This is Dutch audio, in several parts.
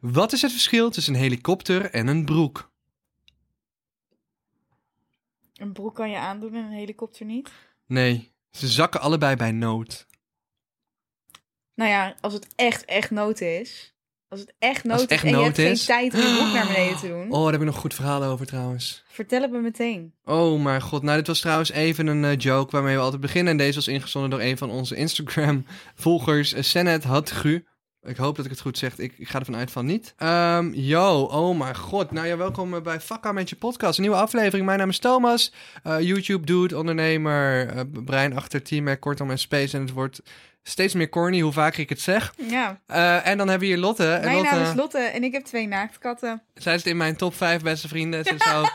wat is het verschil tussen een helikopter en een broek? Een broek kan je aandoen en een helikopter niet. Nee, ze zakken allebei bij nood. Nou ja, als het echt, echt nood is. Als het echt nood Als het is echt en je nood hebt is? geen tijd om je broek naar beneden te doen. Oh, daar heb ik nog een goed verhaal over trouwens. Vertel het me meteen. Oh mijn god, nou dit was trouwens even een eh, joke waarmee we altijd beginnen. En deze was ingezonden door een van onze Instagram-volgers, eh, Senet Hadgu. Ik hoop dat ik het goed zeg, ik, ik ga ervan uit van niet. Ehm, yo, oh mijn god. Nou ja, welkom eh, bij Fakka met je podcast. Een nieuwe aflevering. Mijn naam is Thomas, eh, YouTube-dude, ondernemer, eh, brein achter team, eh, kortom en space. En het wordt steeds meer corny hoe vaker ik het zeg. Ja, Eh, en dan hebben we hier Lotte. En mijn Lotte, naam is Lotte en ik heb twee naaktkatten. Zij zit in mijn top 5 beste vrienden. Ze zou Ah,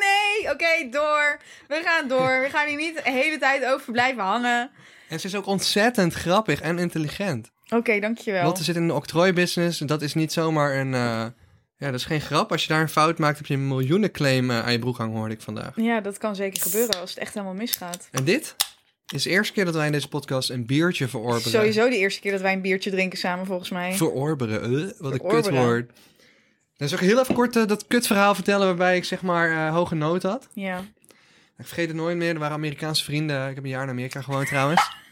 nee! Oké, door. We gaan door. We gaan hier niet de hele tijd over blijven hangen. En ze is ook ontzettend grappig en intelligent. Oké, dankjewel. Lotte zit in de octrooibusiness. Dat is niet zomaar een... eh, Ja, dat is geen grap. Als je daar een fout maakt, heb je een miljoenenclaim eh, aan je broek hangen, hoorde ik vandaag. Ja, dat kan zeker gebeuren als het echt helemaal misgaat. En dit is de eerste keer dat wij in deze podcast een biertje verorberen. Sowieso de eerste keer dat wij een biertje drinken samen, volgens mij. Verorberen, eh, wat een Verorberen. kutwoord. Dan zal ik heel even kort eh, dat kutverhaal vertellen waarbij ik zeg maar eh, hoge nood had. Ja. Ik vergeet het nooit meer. Er waren Amerikaanse vrienden. Ik heb een jaar in Amerika gewoond trouwens.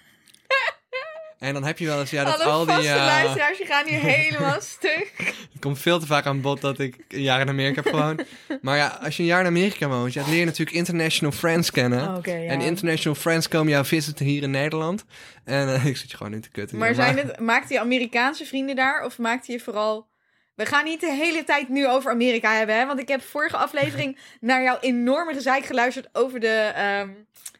en dan heb je wel eens... Ja, dat Alle al die... vaste eh, luisteraars, je gaat nu helemaal stuk. Het komt veel te vaak aan bod dat ik een jaar in Amerika heb gewoond. Maar ja, als je een jaar in Amerika woont, ja, dan leer je natuurlijk international friends kennen. Oh, Oké, ja. En international friends komen jou visiten hier in Nederland. En eh, ik zit je gewoon in te kutten. Maar hier, zijn het, maakte je Amerikaanse vrienden daar of maakte je vooral... We gaan niet de hele tijd nu over Amerika hebben, hè? Want ik heb vorige aflevering naar jouw enorme gezeik geluisterd over de ehm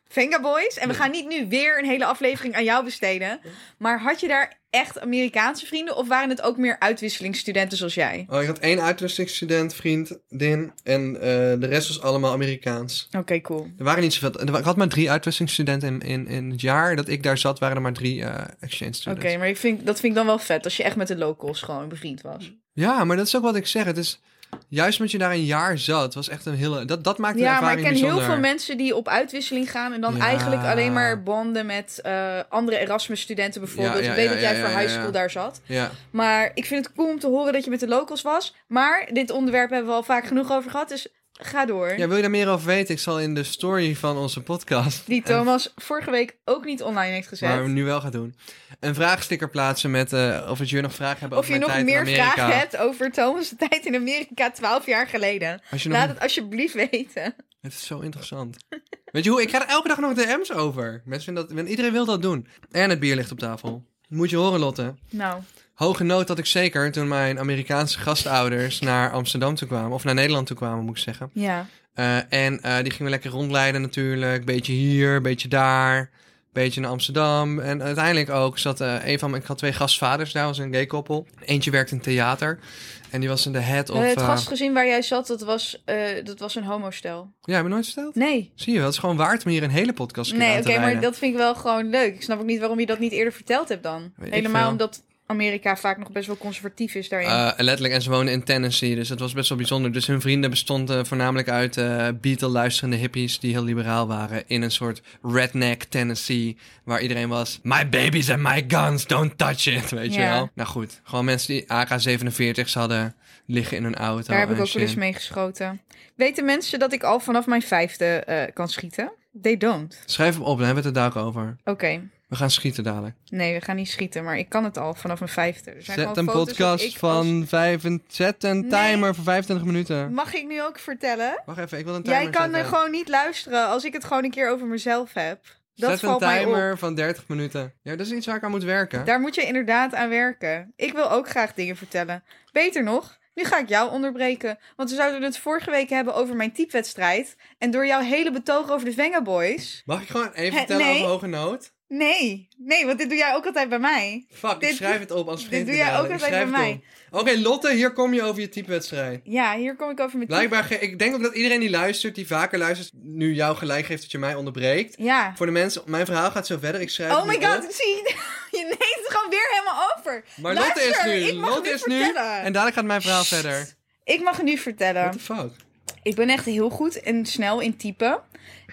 Venga Boys. En we gaan niet nu weer een hele aflevering aan jou besteden. Maar had je daar echt Amerikaanse vrienden of waren het ook meer uitwisselingsstudenten zoals jij? Oh, ik had één uitwisselingsstudent, vriend, Din. En eh, de rest was allemaal Amerikaans. Oké, cool. Er waren niet zoveel. er wa- Ik had maar drie uitwisselingsstudenten in, in, in het jaar dat ik daar zat, waren er maar drie eh, exchange Oké, studenten. maar ik vind, dat vind ik dan wel vet als je echt met de locals gewoon bevriend was. Ja, maar dat is ook wat ik zeg. Het is juist omdat je daar een jaar zat, was echt een hele. Dat, dat maakte de Ja, maar ervaring ik ken heel bijzonder. veel mensen die op uitwisseling gaan en dan Ja. eigenlijk alleen maar bonden met eh, andere Erasmus-studenten bijvoorbeeld. Ja, ja, ik weet ja, dat ja, jij voor ja, high ja. school daar zat. Ja. Maar ik vind het cool om te horen dat je met de locals was. Maar dit onderwerp hebben we al vaak genoeg over gehad, dus ga door. Ja, wil je daar meer over weten? Ik zal in de story van onze podcast. die een- Thomas vorige week ook niet online heeft gezet. Maar we nu wel gaan doen. Een vraagsticker plaatsen met eh, of het je nog vragen hebben Of over je mijn nog tijd in meer Amerika. vragen hebt over Thomas' de tijd in Amerika 12 jaar geleden. Als je nog... Laat het alsjeblieft weten. Het is zo interessant. Weet je hoe? Ik ga er elke dag nog DM's over. Mensen vinden dat... Iedereen wil dat doen. En het bier ligt op tafel. Moet je horen, Lotte. Nou, Hoge nood had ik zeker toen mijn Amerikaanse gastouders naar Amsterdam toe kwamen. Of naar Nederland toe kwamen, moet ik zeggen. ja. Eh, en eh, die gingen we lekker rondleiden natuurlijk. Beetje hier, beetje daar. Beetje naar Amsterdam. En uiteindelijk ook zat eh, een van mijn... Ik had twee gastvaders daar, was een gay koppel. Eentje werkte in theater. En die was in de head of... Eh, het eh, gastgezin waar jij zat, dat was, eh, dat was een homostel. Ja, heb je nooit verteld? Nee. Zie je wel, het is gewoon waard om hier een hele podcast Nee, aan oké, te maar wijden. dat vind ik wel gewoon leuk. Ik snap ook niet waarom je dat niet eerder verteld hebt dan. Weet ik Helemaal veel. omdat Amerika vaak nog best wel conservatief is daarin. Eh, letterlijk, en ze wonen in Tennessee, dus dat was best wel bijzonder. Dus hun vrienden bestonden voornamelijk uit eh Beatle-luisterende hippies die heel liberaal waren. In een soort redneck Tennessee, waar iedereen was... My babies and my guns, don't touch it, weet je Ja. wel. Nou goed, gewoon mensen die AK-47's hadden liggen in hun auto. Daar heb ik en ook wel shit. eens mee geschoten. Weten mensen dat ik al vanaf mijn vijfde eh, kan schieten? They don't. Schrijf hem op, dan hebben we het er daar ook over. Oké. We gaan schieten dadelijk. Nee, we gaan niet schieten, maar ik kan het al vanaf mijn vijfde. Er zijn Zet gewoon een foto's dat podcast ik van... als- Vijf, zet een Nee. timer voor 25 minuten. Mag ik nu ook vertellen? Wacht even, ik wil een timer Jij kan er zetten. gewoon niet luisteren als ik het gewoon een keer over mezelf heb. Dat Zet een valt mij op. timer van 30 minuten. Ja, dat is iets waar ik aan moet werken. Daar moet je inderdaad aan werken. Ik wil ook graag dingen vertellen. Beter nog, nu ga ik jou onderbreken. Want we zouden het vorige week hebben over mijn typewedstrijd. En door jouw hele betoog over de Venga Boys. Mag ik gewoon even Hè, vertellen nee. over hoge nood? Nee, nee, want dit doe jij ook altijd bij mij. Fuck, ik Dit- schrijf het op als dit vergeet doe ik jij dadelijk. ook Ik altijd schrijf bij het op. Oké, Lotte, hier kom je over je typewedstrijd. Ja, hier kom ik over mijn type- Blijkbaar, ge- ik denk ook dat iedereen die luistert, die vaker luistert, nu jou gelijk geeft dat je mij onderbreekt. Ja. Voor de mensen, mijn verhaal gaat zo verder. Ik schrijf Oh het my nu god, op. zie je, je neemt het gewoon weer helemaal over. Maar Luister, Lotte is nu. ik mag het Lotte nu is nu. vertellen. En dadelijk gaat mijn verhaal verder. Ik mag het nu What vertellen. the fuck? Ik ben echt heel goed en snel in typen.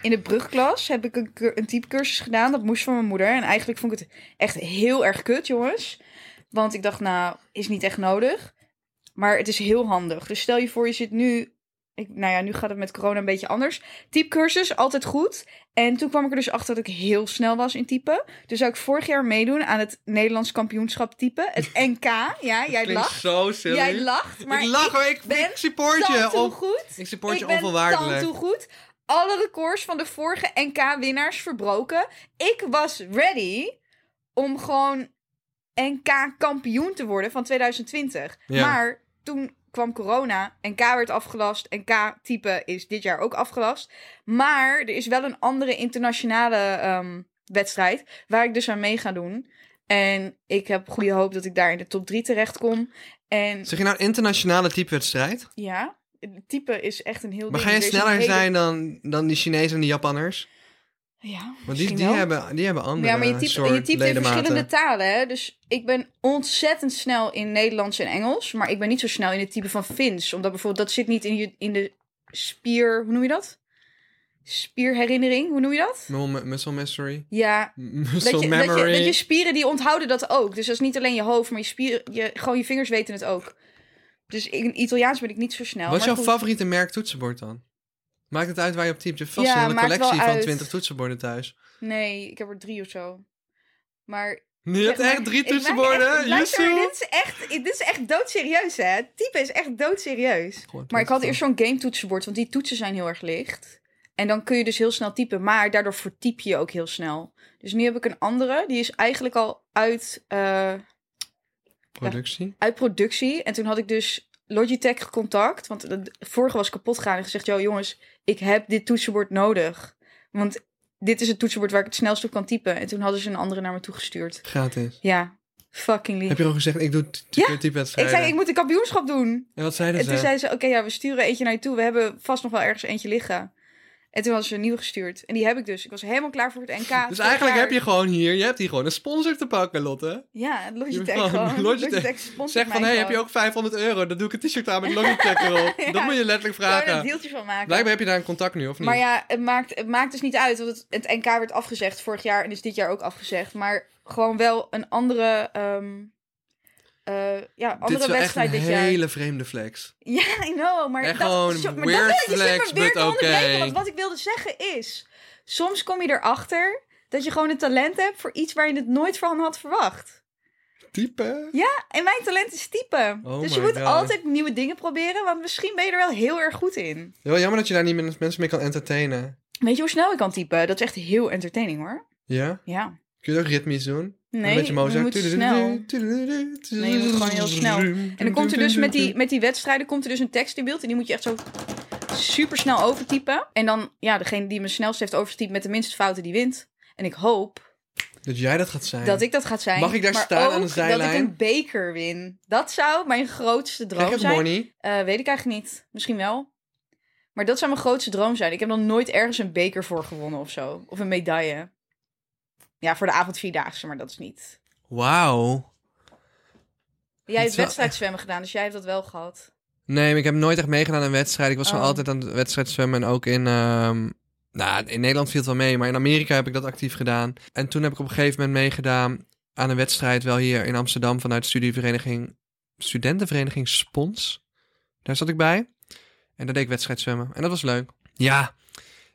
In de brugklas heb ik een, cur- een typecursus gedaan. Dat moest van mijn moeder. En eigenlijk vond ik het echt heel erg kut, jongens. Want ik dacht, nou, is niet echt nodig. Maar het is heel handig. Dus stel je voor, je zit nu... Ik, nou ja, nu gaat het met corona een beetje anders. Typecursus, altijd goed. En toen kwam ik er dus achter dat ik heel snel was in typen. Dus zou ik vorig jaar meedoen aan het Nederlands kampioenschap typen. Het NK. Ja, jij Klinkt lacht. zo silly. Jij lacht. Maar ik lach hoor, ik, ben ik support je. tantoe Op, goed. ik support je Ik ben onvoorwaardelijk. toe goed. Alle records van de vorige NK-winnaars verbroken. Ik was ready om gewoon NK-kampioen te worden van 2020. Ja. Maar toen kwam corona. NK werd afgelast. NK-type is dit jaar ook afgelast. Maar er is wel een andere internationale ehm, wedstrijd waar ik dus aan mee ga doen. En ik heb goede hoop dat ik daar in de top 3 terechtkom. En Zeg je nou internationale typewedstrijd? ja, het type is echt een heel Maar ding. ga je Er is sneller een hele- zijn dan, dan die Chinezen en die Japanners? Ja, Want die, misschien die, wel. hebben, die hebben andere Ja, maar je typt, soort je typt in ledematen. verschillende talen. Hè? Dus ik ben ontzettend snel in Nederlands en Engels. Maar ik ben niet zo snel in het type van Fins. Omdat bijvoorbeeld dat zit niet in, je, in de spier... Hoe noem je dat? Spierherinnering, hoe noem je dat? Mul- Muscle memory. Ja, Muscle dat je, dat, je, memory. dat je spieren die onthouden dat ook. Dus dat is niet alleen je hoofd, maar je spieren, je, gewoon je vingers weten het ook. Dus in Italiaans ben ik niet zo snel. Wat is maar jouw goed. favoriete merk toetsenbord dan? Maakt het uit waar je op typt? Je hebt vast Ja, een hele maakt wel collectie van uit. 20 toetsenborden thuis. Nee, ik heb er drie of zo. Maar Je hebt Zeg maar, echt drie ik maak toetsenborden. echt- Luister, Yusu. dit is echt, dit is echt doodserieus, hè? Het type is echt doodserieus. Gewoon Maar ik had toetsenbord. eerst zo'n game toetsenbord, want die toetsen zijn heel erg licht. En dan kun je dus heel snel typen, maar daardoor vertyp je ook heel snel. Dus nu heb ik een andere, die is eigenlijk al uit, eh, Productie. uit productie. En toen had ik dus Logitech contact, want de de vorige was kapot gegaan. En gezegd, yo jongens, ik heb dit toetsenbord nodig. Want dit is het toetsenbord waar ik het snelst op kan typen. En toen hadden ze een andere naar me toegestuurd. Gratis. Ja, fucking lief. Heb je al gezegd, ik doe Ja, Ik typewedstrijden? zei, ik moet een kampioenschap doen. En wat zeiden En toen ze? zei ze, oké, ja, we sturen eentje naar je toe. We hebben vast nog wel ergens eentje liggen. En toen hadden ze een nieuwe gestuurd. En die heb ik dus. Ik was helemaal klaar voor het NK. Dus Vorig eigenlijk jaar- heb je gewoon hier, je hebt hier gewoon een sponsor te pakken, Lotte. Ja, Logitech Gewoon, gewoon. Logitech. Logitech, sponsort Zeg van, mij hey, heb je gewoon. ook 500 euro? Dan doe ik een t-shirt aan met Logitech erop. Ja. Dat moet je letterlijk Zou je er vragen. een deeltje van maken. Blijkbaar heb je daar een contact nu, of niet? maar ja, het maakt, het maakt dus niet uit. Want het, het NK werd afgezegd vorig jaar en is dit jaar ook afgezegd. Maar gewoon wel een andere, ehm, eh, ja, dit is andere wel echt een wedstrijd dit jaar. hele vreemde flex. Ja, I know, maar Echt dat, gewoon zo- maar weird dat, je zit me flex, weer but te onderbreken, okay. Want wat ik wilde zeggen is, soms kom je erachter dat je gewoon een talent hebt voor iets waar je het nooit van had verwacht. Type? Ja, en mijn talent is typen. Oh dus je my moet God. altijd nieuwe dingen proberen, want misschien ben je er wel heel erg goed in. Heel jammer dat je daar niet men- mensen mee kan entertainen. Weet je hoe snel ik kan typen? Dat is echt heel entertaining hoor. Ja? Ja. Kun je dat ook ritmisch doen? Nee, een beetje Mozart. je moet snel. Nee, je moet gewoon heel snel. En dan komt er dus met die, met die wedstrijden komt er dus een tekst in beeld. En die moet je echt zo super snel overtypen. En dan, ja, degene die me snelst heeft overtypt met de minste fouten, die wint. En ik hoop Dat jij dat gaat zijn. dat ik dat gaat zijn. Mag ik daar maar staan aan ook de zijlijn? dat ik een beker win. Dat zou mijn grootste Krijg droom ik zijn. money? Eh, weet ik eigenlijk niet. Misschien wel. Maar dat zou mijn grootste droom zijn. Ik heb nog nooit ergens een beker voor gewonnen of zo. Of een medaille. Ja, voor de avond vierdaagse, maar dat is niet. Wauw. Het is Jij hebt wel wedstrijdzwemmen gedaan, dus jij hebt dat wel gehad. Nee, maar ik heb nooit echt meegedaan aan een wedstrijd. Ik was Oh. gewoon altijd aan het wedstrijd zwemmen. En ook in. ehm, nou, in Nederland viel het wel mee, maar in Amerika heb ik dat actief gedaan. En toen heb ik op een gegeven moment meegedaan aan een wedstrijd, wel hier in Amsterdam vanuit studievereniging, studentenvereniging Spons. Daar zat ik bij. En daar deed ik wedstrijd zwemmen. En dat was leuk. Ja,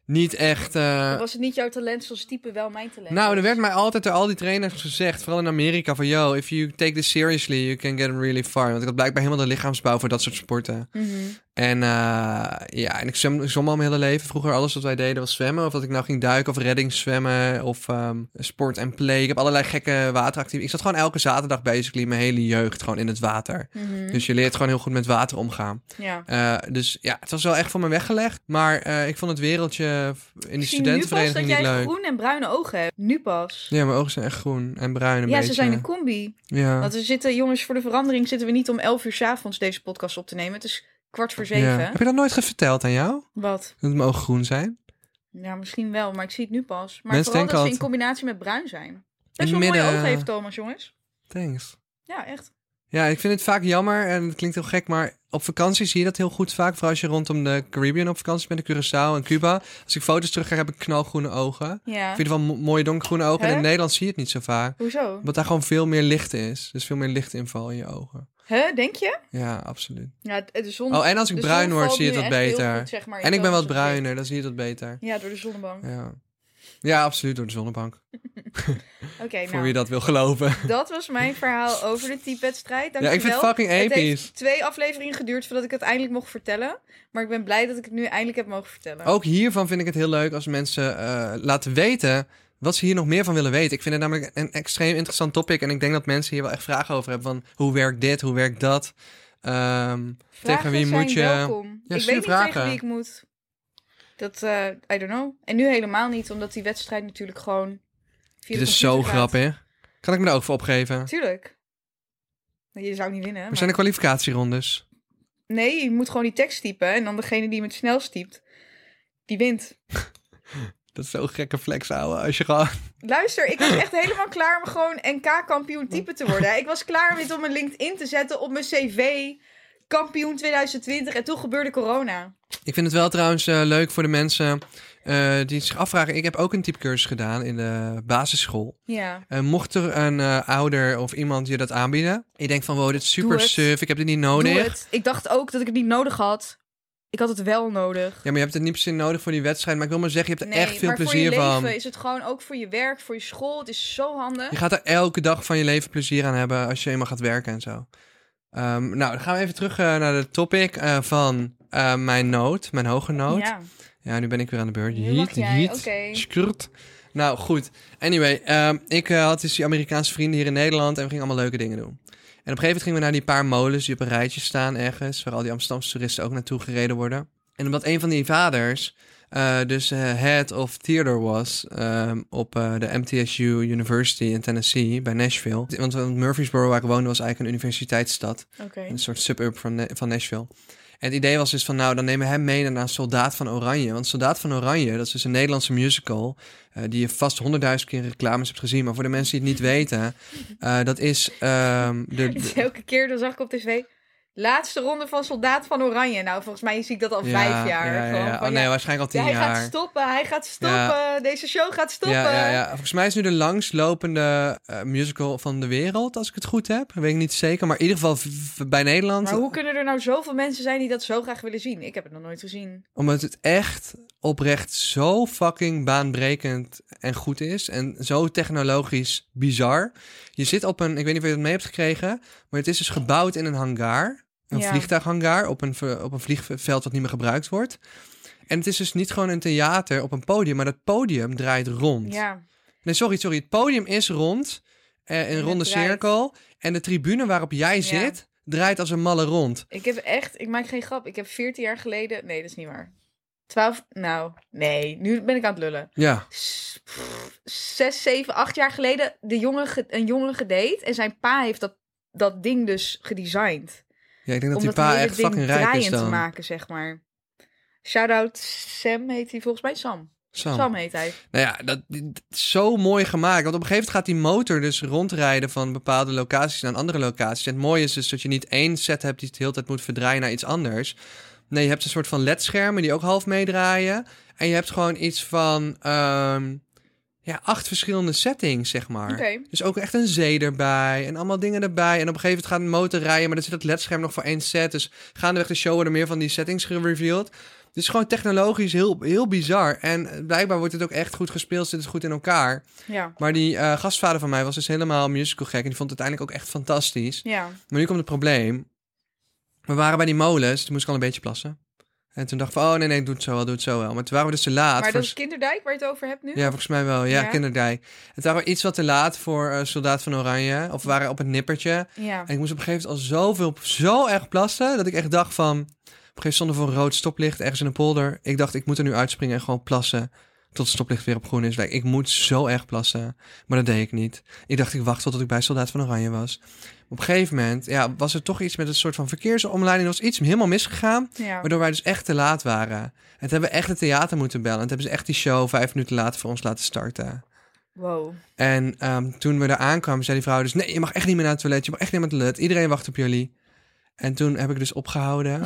niet echt. eh, was het niet jouw talent zoals type wel mijn talent? nou, er werd mij altijd door al die trainers gezegd, vooral in Amerika, van yo, if you take this seriously, you can get really far. Want ik had blijkbaar helemaal de lichaamsbouw voor dat soort sporten. Mhm. En eh, ja, en ik zwem, ik zwom al mijn hele leven. Vroeger alles wat wij deden was zwemmen. Of dat ik nou ging duiken of reddingszwemmen of ehm, sport en play. Ik heb allerlei gekke wateractiviteiten. Ik zat gewoon elke zaterdag basically mijn hele jeugd gewoon in het water. mhm. Dus je leert gewoon heel goed met water omgaan. ja. Eh, dus ja, het was wel echt voor me weggelegd. Maar eh, ik vond het wereldje in die Ik zie nu pas dat studentenvereniging niet jij leuk. groen en bruine ogen hebt. Nu pas. Ja, mijn ogen zijn echt groen en bruin een ja, beetje. ze zijn een combi. Ja. Want we zitten, jongens, voor de verandering zitten we niet om 11 uur 's avonds deze podcast op te nemen. Het is kwart voor zeven. Ja. Heb je dat nooit ge- verteld aan jou? Wat? Dat mijn ogen groen zijn? Ja, misschien wel, maar ik zie het nu pas. Maar Mensen vooral denken dat ze in altijd- combinatie met bruin zijn. het Best wel mooie midden- eh, ogen heeft Thomas, jongens. Thanks. Ja, echt. Ja, ik vind het vaak jammer en het klinkt heel gek, maar op vakantie zie je dat heel goed vaak. Vooral als je rondom de Caribbean op vakantie bent, in Curaçao en Cuba. Als ik foto's terugkrijg, heb ik knalgroene ogen. Ja. Ik vind het wel mo- mooie donkergroene ogen. En Hè? in Nederland zie je het niet zo vaak. Hoezo? Omdat daar gewoon veel meer licht is. Dus veel meer lichtinval in je ogen. Hè, denk je? Ja, absoluut. Ja, de- de zon... Oh, en als ik de zon bruin word, valt zie je nu het wat echt heel beter. goed, zeg maar, in en ik ben wat Thomas' gezicht. bruiner, dan zie je dat beter. Ja, door de zonnebank. Ja, ja absoluut door de zonnebank. Oké, Voor nou, wie dat wil geloven. dat was mijn verhaal over de typewedstrijd. Ja, ik vind het Dankjewel. fucking Het episch. heeft twee afleveringen geduurd voordat ik het eindelijk mocht vertellen. Maar ik ben blij dat ik het nu eindelijk heb mogen vertellen. Ook hiervan vind ik het heel leuk als mensen eh, laten weten wat ze hier nog meer van willen weten. Ik vind het namelijk een extreem interessant topic. En ik denk dat mensen hier wel echt vragen over hebben. Van hoe werkt dit, hoe werkt dat? Ehm, Vragen tegen wie zijn moet je- welkom. Ja, ik stuur weet niet vragen. tegen wie ik moet. Dat, eh, I don't know. En nu helemaal niet, omdat die wedstrijd natuurlijk gewoon... via de dit is computer zo gaat. grappig. Kan ik me daar ook voor opgeven? Tuurlijk. Je zou niet winnen. We maar- zijn de kwalificatierondes. Nee, je moet gewoon die tekst typen. En dan degene die hem het snelst typt, die wint. Dat is zo'n gekke flex, ouwe. Als je gewoon... Luister, ik was echt helemaal klaar om gewoon NK-kampioen type te worden. Ik was klaar om dit op mijn LinkedIn te zetten, op mijn cv. Kampioen 2020. En toen gebeurde corona. Ik vind het wel trouwens eh, leuk voor de mensen eh, die zich afvragen. Ik heb ook een typecursus gedaan in de basisschool. Ja. Eh, mocht er een eh, ouder of iemand je dat aanbieden. Ik denk van, wow, dit is super het. suf. Ik heb dit niet nodig. Doe het. Ik dacht ook dat ik het niet nodig had. Ik had het wel nodig. Ja, maar je hebt het niet per se nodig voor die wedstrijd. Maar ik wil maar zeggen, je hebt er echt veel maar plezier voor je van. leven is het gewoon ook voor je werk, voor je school. Het is zo handig. Je gaat er elke dag van je leven plezier aan hebben als je eenmaal gaat werken en zo. Ehm, nou, dan gaan we even terug eh, naar de topic eh, van eh, mijn nood, mijn hoge nood. Ja. Ja. nu ben ik weer aan de beurt. Nu mag Jeet, jij, jeet, oké. skrt. Nou, goed. Anyway, ehm, ik eh, had dus die Amerikaanse vrienden hier in Nederland en we gingen allemaal leuke dingen doen. En op een gegeven moment gingen we naar die paar molens die op een rijtje staan ergens, waar al die Amsterdamse toeristen ook naartoe gereden worden. En omdat een van die vaders eh, dus eh, head of theater was ehm, op eh, de MTSU University in Tennessee, bij Nashville. Want want Murfreesboro, waar ik woonde, was eigenlijk een universiteitsstad. Oké. Een soort suburb van, Na- van Nashville. En het idee was dus van, nou, dan nemen we hem mee naar Soldaat van Oranje. Want Soldaat van Oranje, dat is dus een Nederlandse musical... eh, die je vast honderdduizend keer in reclames hebt gezien. Maar voor de mensen die het niet weten, eh, dat is... ehm, de, Dus de- elke keer dan zag ik op tv. Laatste ronde van Soldaat van Oranje. Nou, volgens mij zie ik dat al Ja, vijf jaar. Ja, ja, Gewoon ja. van, Oh ja, nee, waarschijnlijk al ja, tien hij jaar. gaat stoppen, hij gaat stoppen. Ja. Deze show gaat stoppen. Ja, ja, ja, volgens mij is het nu de langslopende eh, musical van de wereld, als ik het goed heb. Weet ik niet zeker, maar in ieder geval v- v- bij Nederland. Maar hoe kunnen er nou zoveel mensen zijn die dat zo graag willen zien? Ik heb het nog nooit gezien. Omdat het echt oprecht zo fucking baanbrekend en goed is. En zo technologisch bizar. Je zit op een, ik weet niet of je dat mee hebt gekregen, maar het is dus gebouwd in een hangar. Een Ja. vliegtuighangar op een, ver- op een vliegveld dat niet meer gebruikt wordt. En het is dus niet gewoon een theater op een podium, maar dat podium draait rond. Ja, Nee, sorry, sorry. Het podium is rond. eh, een het ronde draait. cirkel. En de tribune waarop jij zit, draait als een malle rond. ik heb echt, ik maak geen grap. Ik heb 14 jaar geleden, nee, dat is niet waar. 12, nou, nee, nu ben ik aan het lullen. Ja. S- pff, Zes, zeven, acht jaar geleden de jongen ge- een jongen gedate. En zijn pa heeft dat, dat ding dus gedesigned. Ja, ik denk dat om die dat pa hele echt ding fucking rijk is draaiend te dan. maken, zeg maar. Shout-out Sam heet hij volgens mij, Sam. Sam. Sam heet hij. Nou ja, dat, dit is zo mooi gemaakt. Want op een gegeven moment gaat die motor dus rondrijden van bepaalde locaties naar andere locaties. En het mooie is dus dat je niet één set hebt die het de hele tijd moet verdraaien naar iets anders. Nee, je hebt een soort van ledschermen die ook half meedraaien. En je hebt gewoon iets van ehm, ja, acht verschillende settings, zeg maar. Oké. Dus ook echt een zee erbij en allemaal dingen erbij. En op een gegeven moment gaat een motor rijden, maar dan zit het ledscherm nog voor één set. Dus gaandeweg de show worden meer van die settings gereveeld. Het is gewoon technologisch heel, heel bizar. En eh, blijkbaar wordt het ook echt goed gespeeld, zit het goed in elkaar. Ja. Maar die eh, gastvvader van mij was dus helemaal musical gek en die vond het uiteindelijk ook echt fantastisch. Ja. Maar nu komt het probleem. We waren bij die molens, toen moest ik al een beetje plassen. En toen dacht ik van, oh nee, nee, doe het zo wel, doe het zo wel. Maar toen waren we dus te laat. Maar voor- dat is Kinderdijk waar je het over hebt nu? ja, volgens mij wel. Ja, Ja. kinderdijk. Het waren we iets wat te laat voor eh, Soldaat van Oranje. Of we waren op het nippertje. Ja. En ik moest op een gegeven moment al zoveel, zo erg plassen... dat ik echt dacht van... op een gegeven moment stonden we voor een rood stoplicht ergens in een polder. Ik dacht, ik moet er nu uitspringen en gewoon plassen... tot het stoplicht weer op groen is. Like, ik moet zo erg plassen. Maar dat deed ik niet. Ik dacht, ik wacht tot ik bij Soldaat van Oranje was. Op een gegeven moment ja, was er toch iets met een soort van verkeersomleiding. Er was iets helemaal misgegaan... Ja. Waardoor wij dus echt te laat waren. En toen hebben we echt het theater moeten bellen. En toen hebben ze echt die show vijf minuten later voor ons laten starten. Wow. En ehm, toen we daar aankwamen, zei die vrouw dus... Nee, je mag echt niet meer naar het toilet. Je mag echt niet meer naar het toilet. Iedereen wacht op jullie. En toen heb ik dus opgehouden.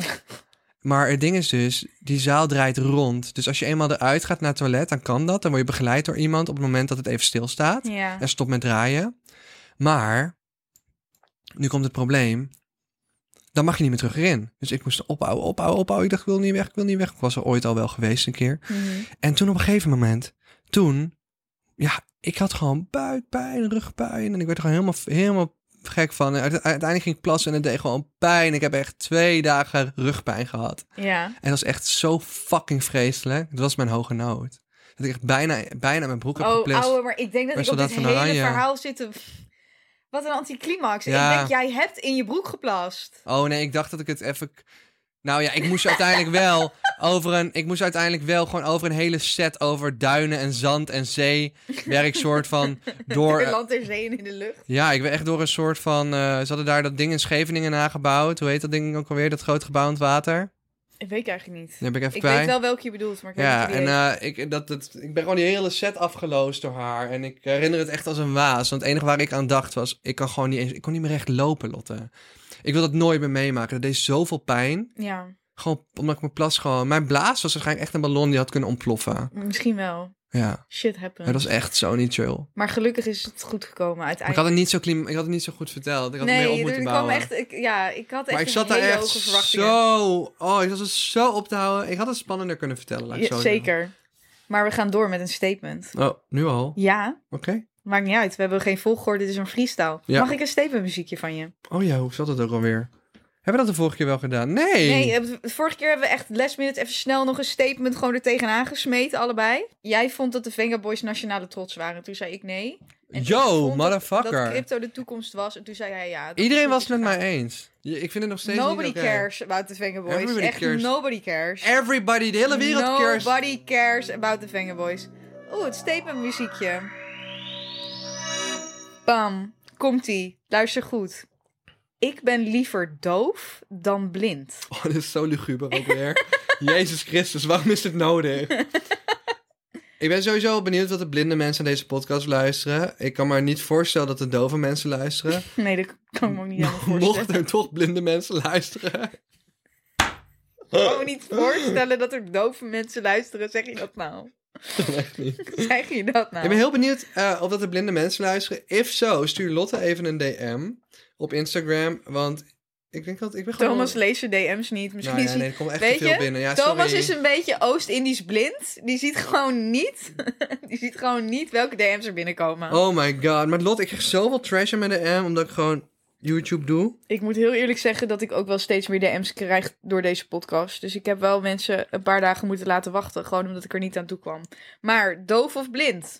Maar het ding is dus, die zaal draait rond. Dus als je eenmaal eruit gaat naar het toilet, dan kan dat. Dan word je begeleid door iemand op het moment dat het even stilstaat. Ja. En stop met draaien. Maar, nu komt het probleem. Dan mag je niet meer terug erin. Dus ik moest ophouden, ophouden, ophouden. Ik dacht, ik wil niet weg, ik wil niet weg. Ik was er ooit al wel geweest een keer. Mhm. En toen op een gegeven moment, toen, ja, ik had gewoon buikpijn, rugpijn. En ik werd er gewoon helemaal, helemaal gek van. En uite- uiteindelijk ging ik plassen en het deed gewoon pijn. Ik heb echt twee dagen rugpijn gehad. Ja. En dat is echt zo fucking vreselijk. Dat was mijn hoge nood. Dat ik echt bijna, bijna mijn broek heb Oh, geplist. ouwe, maar ik denk dat Bij ik op dit Soldaat van hele Oranje. verhaal zit. te- Wat een anticlimax. Ja. Ik denk, jij hebt in je broek geplast. Oh nee, ik dacht dat ik het even. Nou ja, ik moest uiteindelijk wel over een. Ik moest uiteindelijk wel gewoon over een hele set over duinen en zand en zee. Werk ik soort van door. Door land ter zee en in de lucht. Ja, ik ben echt door een soort van. eh, ze hadden daar dat ding in Scheveningen nagebouwd. Hoe heet dat ding ook alweer? Dat groot gebouw in het water. Ik weet eigenlijk niet. Die heb ik even Ik kwijt. weet wel welke je bedoelt, maar ik weet ja, niet en hoe die heet. eh, ik, dat, dat, ik ben gewoon die hele set afgeloosd door haar. En ik herinner het echt als een waas. Want het enige waar ik aan dacht was... Ik kan gewoon niet eens... Ik kon niet meer recht lopen, Lotte. Ik wil dat nooit meer meemaken. Dat deed zoveel pijn. Ja, Gewoon omdat ik mijn plas gewoon... Mijn blaas was waarschijnlijk echt een ballon die had kunnen ontploffen. misschien wel. Ja, Shit happens. dat was echt zo niet chill. Maar gelukkig is het goed gekomen Maar ik uiteindelijk. had het niet zo, klim, ik had het niet zo goed verteld. Ik had het meer op nee, moeten er bouwen. kwam echt... Ik, ja, ik had echt maar ik een zat daar hele echt hoge verwachtingen. zo... Oh, ik was het zo op te houden. Ik had het spannender kunnen vertellen. Laat ik Ja, zo zeggen. zeker. Maar we gaan door met een statement. Oh, nu al? Oké. Ja, maakt niet uit. We hebben geen volgorde, dit is een freestyle. Ja. Mag ik een statement muziekje van je? Oh ja, hoe zat het ook alweer? Hebben we dat de vorige keer wel gedaan? Nee! Nee, eh, de vorige keer hebben we echt last minute even snel nog een statement gewoon er tegenaan gesmeten, allebei. Jij vond dat de Venga Boys nationale trots waren. Toen zei ik nee. En ik Yo, vond dat- motherfucker. Dat crypto de toekomst was. En toen zei hij ja. dat Iedereen is was het met goed mij gegaan. eens. Je- Ik vind het nog steeds Nobody niet oké. cares about the Venga Boys. Everybody echt cares. nobody cares. Everybody, de hele wereld cares. Nobody cares about the Venga Boys. Oeh, het statement muziekje. Bam, komt-ie. Luister goed. Ik ben liever doof dan blind. Oh, dit is zo luguber ook weer. Jezus Christus, waarom is dit nodig? ik ben sowieso benieuwd wat de blinde mensen aan deze podcast luisteren. Ik kan me niet voorstellen dat de dove mensen luisteren. Nee, dat kan ik me ook niet helemaal voorstellen. Mochten er toch blinde mensen luisteren. Ik kan me niet voorstellen dat er dove mensen luisteren. Zeg je dat nou? Echt niet. Zeg je dat nou? Ik ben heel benieuwd eh, of dat de blinde mensen luisteren. If zo, stuur Lotte even een DM op Instagram. Want ik denk dat ik ben gewoon... Thomas leest de DM's niet. Misschien Nou ja, is hij- nee, er komt echt Weet te veel je, binnen. Ja, Thomas sorry. is een beetje Oost-Indisch blind. Die ziet gewoon niet. Die ziet gewoon niet welke DM's er binnenkomen. Oh my god. Maar Lot, ik krijg zoveel trash in mijn DM omdat ik gewoon YouTube doe. Ik moet heel eerlijk zeggen dat ik ook wel steeds meer DM's krijg door deze podcast. Dus ik heb wel mensen een paar dagen moeten laten wachten. Gewoon omdat ik er niet aan toe kwam. Maar doof of blind?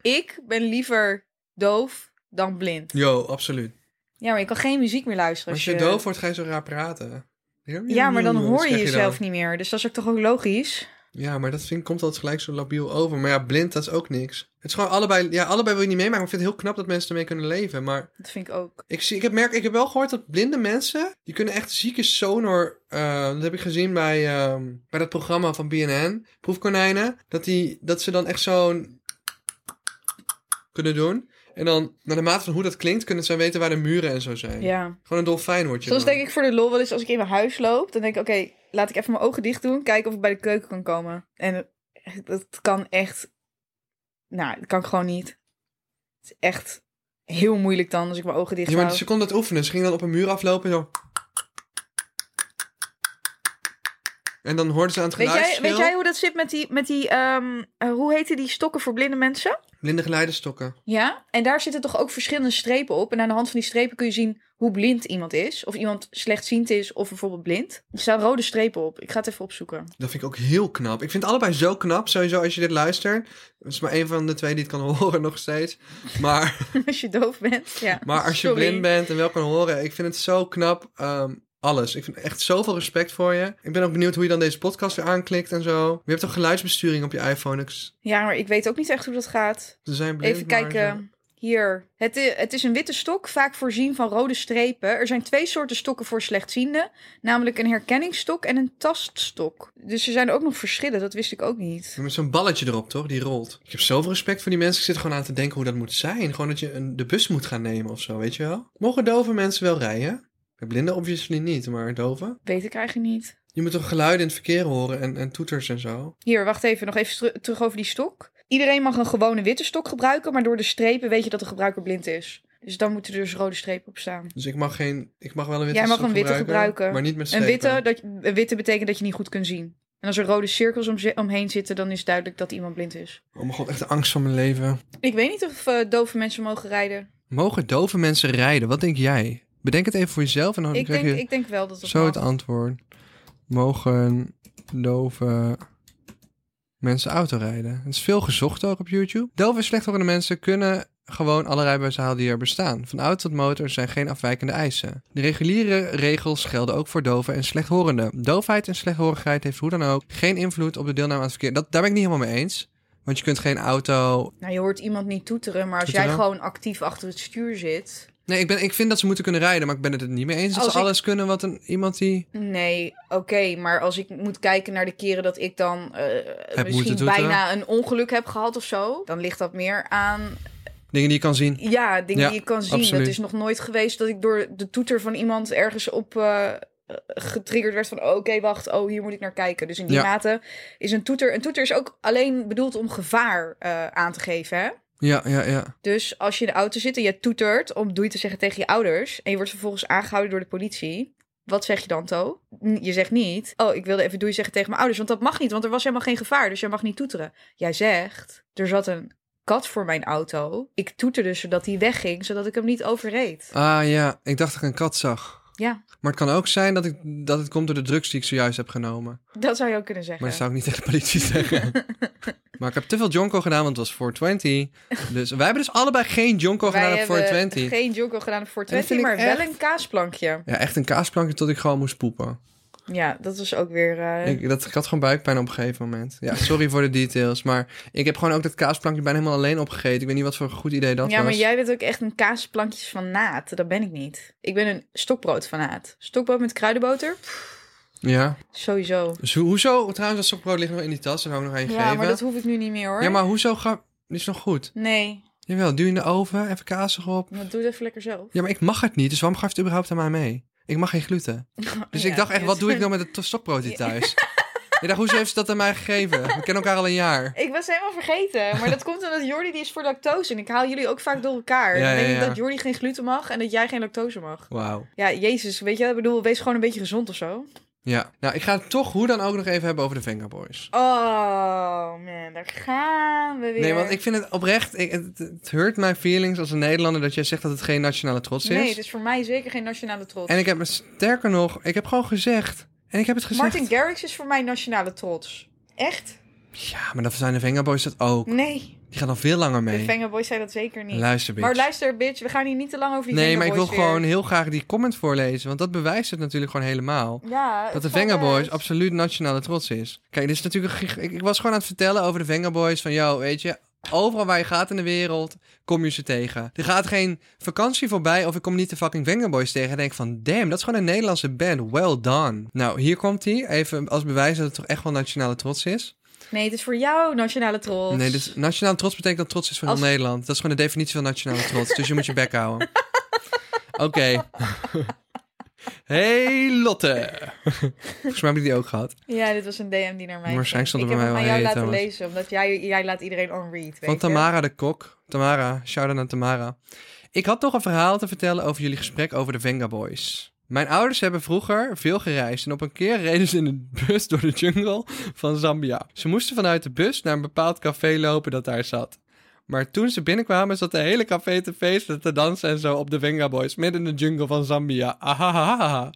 Ik ben liever doof dan blind. Yo, absoluut. Ja, maar je kan geen muziek meer luisteren. Als je doof wordt, ga je zo raar praten. Ja, maar dan Dat hoor je zeg jezelf dan. niet meer. Dus dat is ook toch ook logisch? Ja, maar dat vind, komt altijd gelijk zo labiel over. Maar ja, blind, dat is ook niks. Het is gewoon allebei... Ja, allebei wil je niet meemaken. Maar ik vind het heel knap dat mensen ermee kunnen leven. Maar Dat vind ik ook. ik, zie, ik, heb merk, ik heb wel gehoord dat blinde mensen... Die kunnen echt zieke sonor... eh, dat heb ik gezien bij, ehm, bij dat programma van BNN. Proefkonijnen. Dat, die, dat ze dan echt zo'n... Kunnen doen. En dan, naar de mate van hoe dat klinkt... Kunnen ze weten waar de muren en zo zijn. Ja. Gewoon een dolfijn word je Soms dan. denk ik voor de lol wel eens als ik in mijn huis loop, dan denk ik, oké, laat ik even mijn ogen dicht doen, kijken of ik bij de keuken kan komen. En dat kan echt, nou, dat kan ik gewoon niet. Het is echt heel moeilijk dan als ik mijn ogen dicht Ja, hou. maar ze kon dat oefenen. Ze ging dan op een muur aflopen en zo. En dan hoorden ze aan het Weet jij, geluidsverschil weet jij hoe dat zit met die, met die ehm, eh, hoe heten die stokken voor blinde mensen? blinde geleidestokken. Ja, en daar zitten toch ook verschillende strepen op. En aan de hand van die strepen kun je zien hoe blind iemand is. Of iemand slechtziend is of bijvoorbeeld blind. Er staan rode strepen op. Ik ga het even opzoeken. Dat vind ik ook heel knap. Ik vind allebei zo knap, sowieso als je dit luistert. Het is maar één van de twee die het kan horen nog steeds. Maar, als je doof bent. Ja. maar als je Sorry. blind bent en wel kan horen, ik vind het zo knap. ehm, alles. Ik vind echt zoveel respect voor je. Ik ben ook benieuwd hoe je dan deze podcast weer aanklikt en zo. Je hebt toch geluidsbesturing op je iPhone? Ik- Ja, maar ik weet ook niet echt hoe dat gaat. Ze zijn blind. Even maar kijken. zo. Hier. Het, i- het is een witte stok, vaak voorzien van rode strepen. Er zijn twee soorten stokken voor slechtzienden. Namelijk een herkenningsstok en een taststok. Dus er zijn ook nog verschillen, dat wist ik ook niet. Met zo'n balletje erop, toch? Die rolt. Ik heb zoveel respect voor die mensen. Ik zit gewoon aan te denken hoe dat moet zijn. Gewoon dat je een, de bus moet gaan nemen of zo, weet je wel? Mogen dove mensen wel rijden? Bij Blinden obviously niet, maar doven? Weet ik eigenlijk niet. Je moet toch geluiden in het verkeer horen en, en toeters en zo? Hier, wacht even. Nog even teru- terug over die stok. Iedereen mag een gewone witte stok gebruiken, maar door de strepen weet je dat de gebruiker blind is. Dus dan moeten er dus rode strepen op staan. Dus ik mag geen... Ik mag wel een witte Jij mag stok een witte gebruiken. Maar niet met Een strepen. witte, dat, een witte betekent dat je niet goed kunt zien. En als er rode cirkels om, zi- omheen zitten, dan is duidelijk dat iemand blind is. Oh mijn god, echt de angst van mijn leven. Ik weet niet of eh, dove mensen mogen Oh, rijden. Mogen dove mensen rijden? Wat denk jij? Bedenk het even voor jezelf en dan ik, krijg denk, je ik denk wel dat het zo mag. het antwoord. Mogen dove mensen auto rijden. Het is veel gezocht ook op YouTube. Dove en slechthorende mensen kunnen gewoon alle rijbewijzen halen die er bestaan. Van auto tot motor zijn geen afwijkende eisen. De reguliere regels gelden ook voor doven en slechthorenden. Doofheid en slechthorigheid heeft hoe dan ook geen invloed op de deelname aan het verkeer. Dat, daar ben ik niet helemaal mee eens. Want je kunt geen auto... Nou, je hoort iemand niet toeteren, maar als jij Toeteren? gewoon actief achter het stuur zit... Nee, ik, ben, ik vind dat ze moeten kunnen rijden, maar ik ben het er niet mee eens. Dat Als ze ik- alles kunnen wat een, iemand die... Nee, oké, maar als ik moet kijken naar de keren dat ik dan eh, moeten misschien toeteren. bijna een ongeluk heb gehad of zo... dan ligt dat meer aan Dingen die je kan zien. ja, dingen Ja, die je kan zien. absoluut. Dat is nog nooit geweest dat ik door de toeter van iemand ergens op eh, getriggerd werd van... oh, oké, wacht, oh, hier moet ik naar kijken. Dus in die Ja. mate is een toeter... Een toeter is ook alleen bedoeld om gevaar eh, aan te geven, hè? Ja, ja, ja. Dus als je in de auto zit en je toetert om doei te zeggen tegen je ouders... en je wordt vervolgens aangehouden door de politie... Wat zeg je dan, To? N- Je zegt niet, oh, ik wilde even doei zeggen tegen mijn ouders... want dat mag niet, want er was helemaal geen gevaar, dus jij mag niet toeteren. Jij zegt, er zat een kat voor mijn auto. Ik toeterde zodat hij wegging, zodat ik hem niet overreed. Ah ja, ik dacht dat ik een kat zag. Ja. Maar het kan ook zijn dat, ik, dat het komt door de drugs die ik zojuist heb genomen. Dat zou je ook kunnen Maar zeggen. dat zou ik niet tegen de politie zeggen. maar ik heb te veel jonko gedaan, want het was 420. Dus wij hebben dus allebei geen jonko gedaan op Wij hebben 420. geen joker gedaan op En 420, dat maar vind ik wel echt- een kaasplankje. Ja, echt een kaasplankje tot ik gewoon moest poepen. Ja, dat was ook weer... eh, Ik, dat, ik had gewoon buikpijn op een gegeven moment. Ja, sorry voor de details. Maar ik heb gewoon ook dat kaasplankje bijna helemaal alleen opgegeten. Ik weet niet wat voor een goed idee dat ja, was. maar jij bent ook echt een kaasplankjes van naad. Dat ben ik niet. Ik ben een stokbrood van naad. Stokbrood met kruidenboter? Pff, Ja. sowieso. Dus ho- hoezo? Trouwens, dat sokbrood ligt nog in die tas. en hou ik nog één Ja, gegeven. maar dat hoef ik nu niet meer hoor. ja, maar hoezo ga... Dit is nog goed. Nee, Jawel, duw in de oven, even kaas erop. dat doe het even lekker zelf. Ja, maar ik mag het niet, dus waarom gaf je het überhaupt aan mij mee? Ik mag geen gluten. Dus Oh, Ja, ik dacht echt, ja. wat doe ik nou met het to- stokbrood hier thuis? ik dacht, hoezo heeft ze dat aan mij gegeven? We kennen elkaar al een jaar. Ik was helemaal vergeten. Maar dat komt omdat Jordi die is voor lactose. En ik haal jullie ook vaak door elkaar. Ja, Dan denk ja, ja. ik dat Jordi geen gluten mag en dat jij geen lactose mag. Wauw. Ja, jezus, weet je, ik bedoel, wees gewoon een beetje gezond of zo. Ja, nou, ik ga het toch hoe dan ook nog even hebben over de Venga Boys. Oh man, daar gaan we weer. Nee, want ik vind het oprecht, ik, het, het hurt mijn feelings als een Nederlander dat jij zegt dat het geen nationale trots is. Nee, het is voor mij zeker geen nationale trots. En ik heb me sterker nog, ik heb gewoon gezegd, en ik heb het gezegd. Martin Garrix is voor mij nationale trots. Echt? Ja, maar dan zijn de Vengaboys dat ook. Nee, Die gaan dan veel langer de mee. Venga Boys zei dat zeker niet. Luister, bitch. Maar luister, bitch, we gaan hier niet te lang over die nee, Venga maar ik wil Boys weer. gewoon heel graag die comment voorlezen. Want dat bewijst het natuurlijk gewoon helemaal. Ja, het Dat de valt Venga Boys uit. absoluut nationale trots is. Kijk, dit is natuurlijk. een gig- Ik, ik was gewoon aan het vertellen over de Venga Boys. Van jou, weet je. Overal waar je gaat in de wereld, kom je ze tegen. Er gaat geen vakantie voorbij of ik kom niet de fucking Venga Boys tegen. En denk van, damn, dat is gewoon een Nederlandse band. Well done. Nou, hier komt hij. Even als bewijs dat het toch echt wel nationale trots is. Nee, het is voor jou nationale trots. Nee, dus nationaal trots betekent dat trots is van Als- heel Nederland. Dat is gewoon de definitie van nationale trots. dus je moet je bek houden. Oké. hey Lotte. Volgens mij heb ik die ook gehad. Ja, dit was een DM die naar mij Waarschijnlijk ging. stond er ik bij heb mij wel hem aan jou heet, laten Thomas. lezen, omdat jij, jij laat iedereen on read, weet Van je. Tamara de Kok. Tamara, shout-out aan Tamara. Ik had toch een verhaal te vertellen over jullie gesprek over de Venga Boys. Mijn ouders hebben vroeger veel gereisd en op een keer reden ze in een bus door de jungle van Zambia. Ze moesten vanuit de bus naar een bepaald café lopen dat daar zat. Maar toen ze binnenkwamen zat de hele café te feesten, te dansen en zo op de Venga Boys midden in de jungle van Zambia. Ahahaha.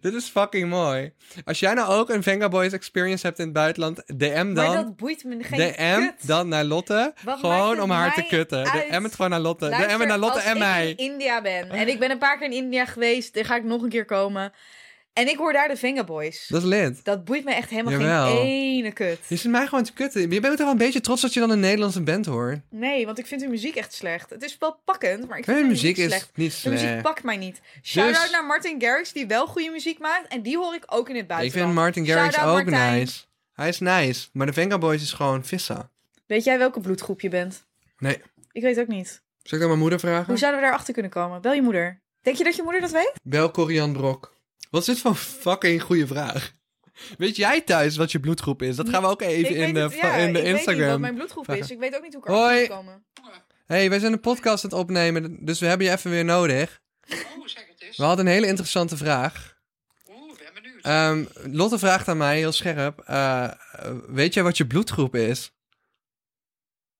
Dit is fucking mooi. Als jij nou ook een Venga Boys experience hebt in het buitenland, DM dan. Maar dat boeit me geen DM kut. dan naar Lotte. Wat maakt gewoon het om haar te mij kutten. uit? DM het gewoon naar Lotte. Luister, DM het naar Lotte als eh, en ik mij. in India ben, en ik ben een paar keer in India geweest, daar ga ik nog een keer komen. En ik hoor daar de Venga Boys. Dat, Dat is lid. boeit me echt helemaal Jawel. geen ene kut. Je zit mij gewoon te kutten. Je bent toch wel een beetje trots dat je dan een Nederlandse band hoort. Nee, want ik vind hun muziek echt slecht. Het is wel pakkend, maar ik vind Hun hun muziek is slecht. niet De muziek slecht. pakt mij niet. Shout-out Dus- naar Martin Garrix, die wel goede muziek maakt. En die hoor ik ook in het Ik buitenland. vind Martin Garrix Shout-out ook Martijn. nice. Hij is nice. Maar de Venga Boys is gewoon vissa. Weet jij welke bloedgroep je bent? Nee. Ik weet ook niet. Zal ik dan mijn moeder vragen? Hoe zouden we daarachter kunnen komen? Bel je moeder. Denk je dat je moeder dat weet? Bel Corian Brok. Wat is dit voor fucking goede vraag? Weet jij thuis wat je bloedgroep is? Dat gaan we ook even in de, weet het- ja, in de ik weet niet wat Instagram. mijn bloedgroep is. vragen. Ik weet ook niet hoe ik Hoi. erachter moet komen. hey, wij zijn een podcast aan het opnemen, dus we hebben je even weer nodig. Oh, zeg het eens. We hadden een hele interessante vraag. Oeh, ben benieuwd. Ehm, Lotte vraagt aan mij heel scherp: eh, Weet jij wat je bloedgroep is?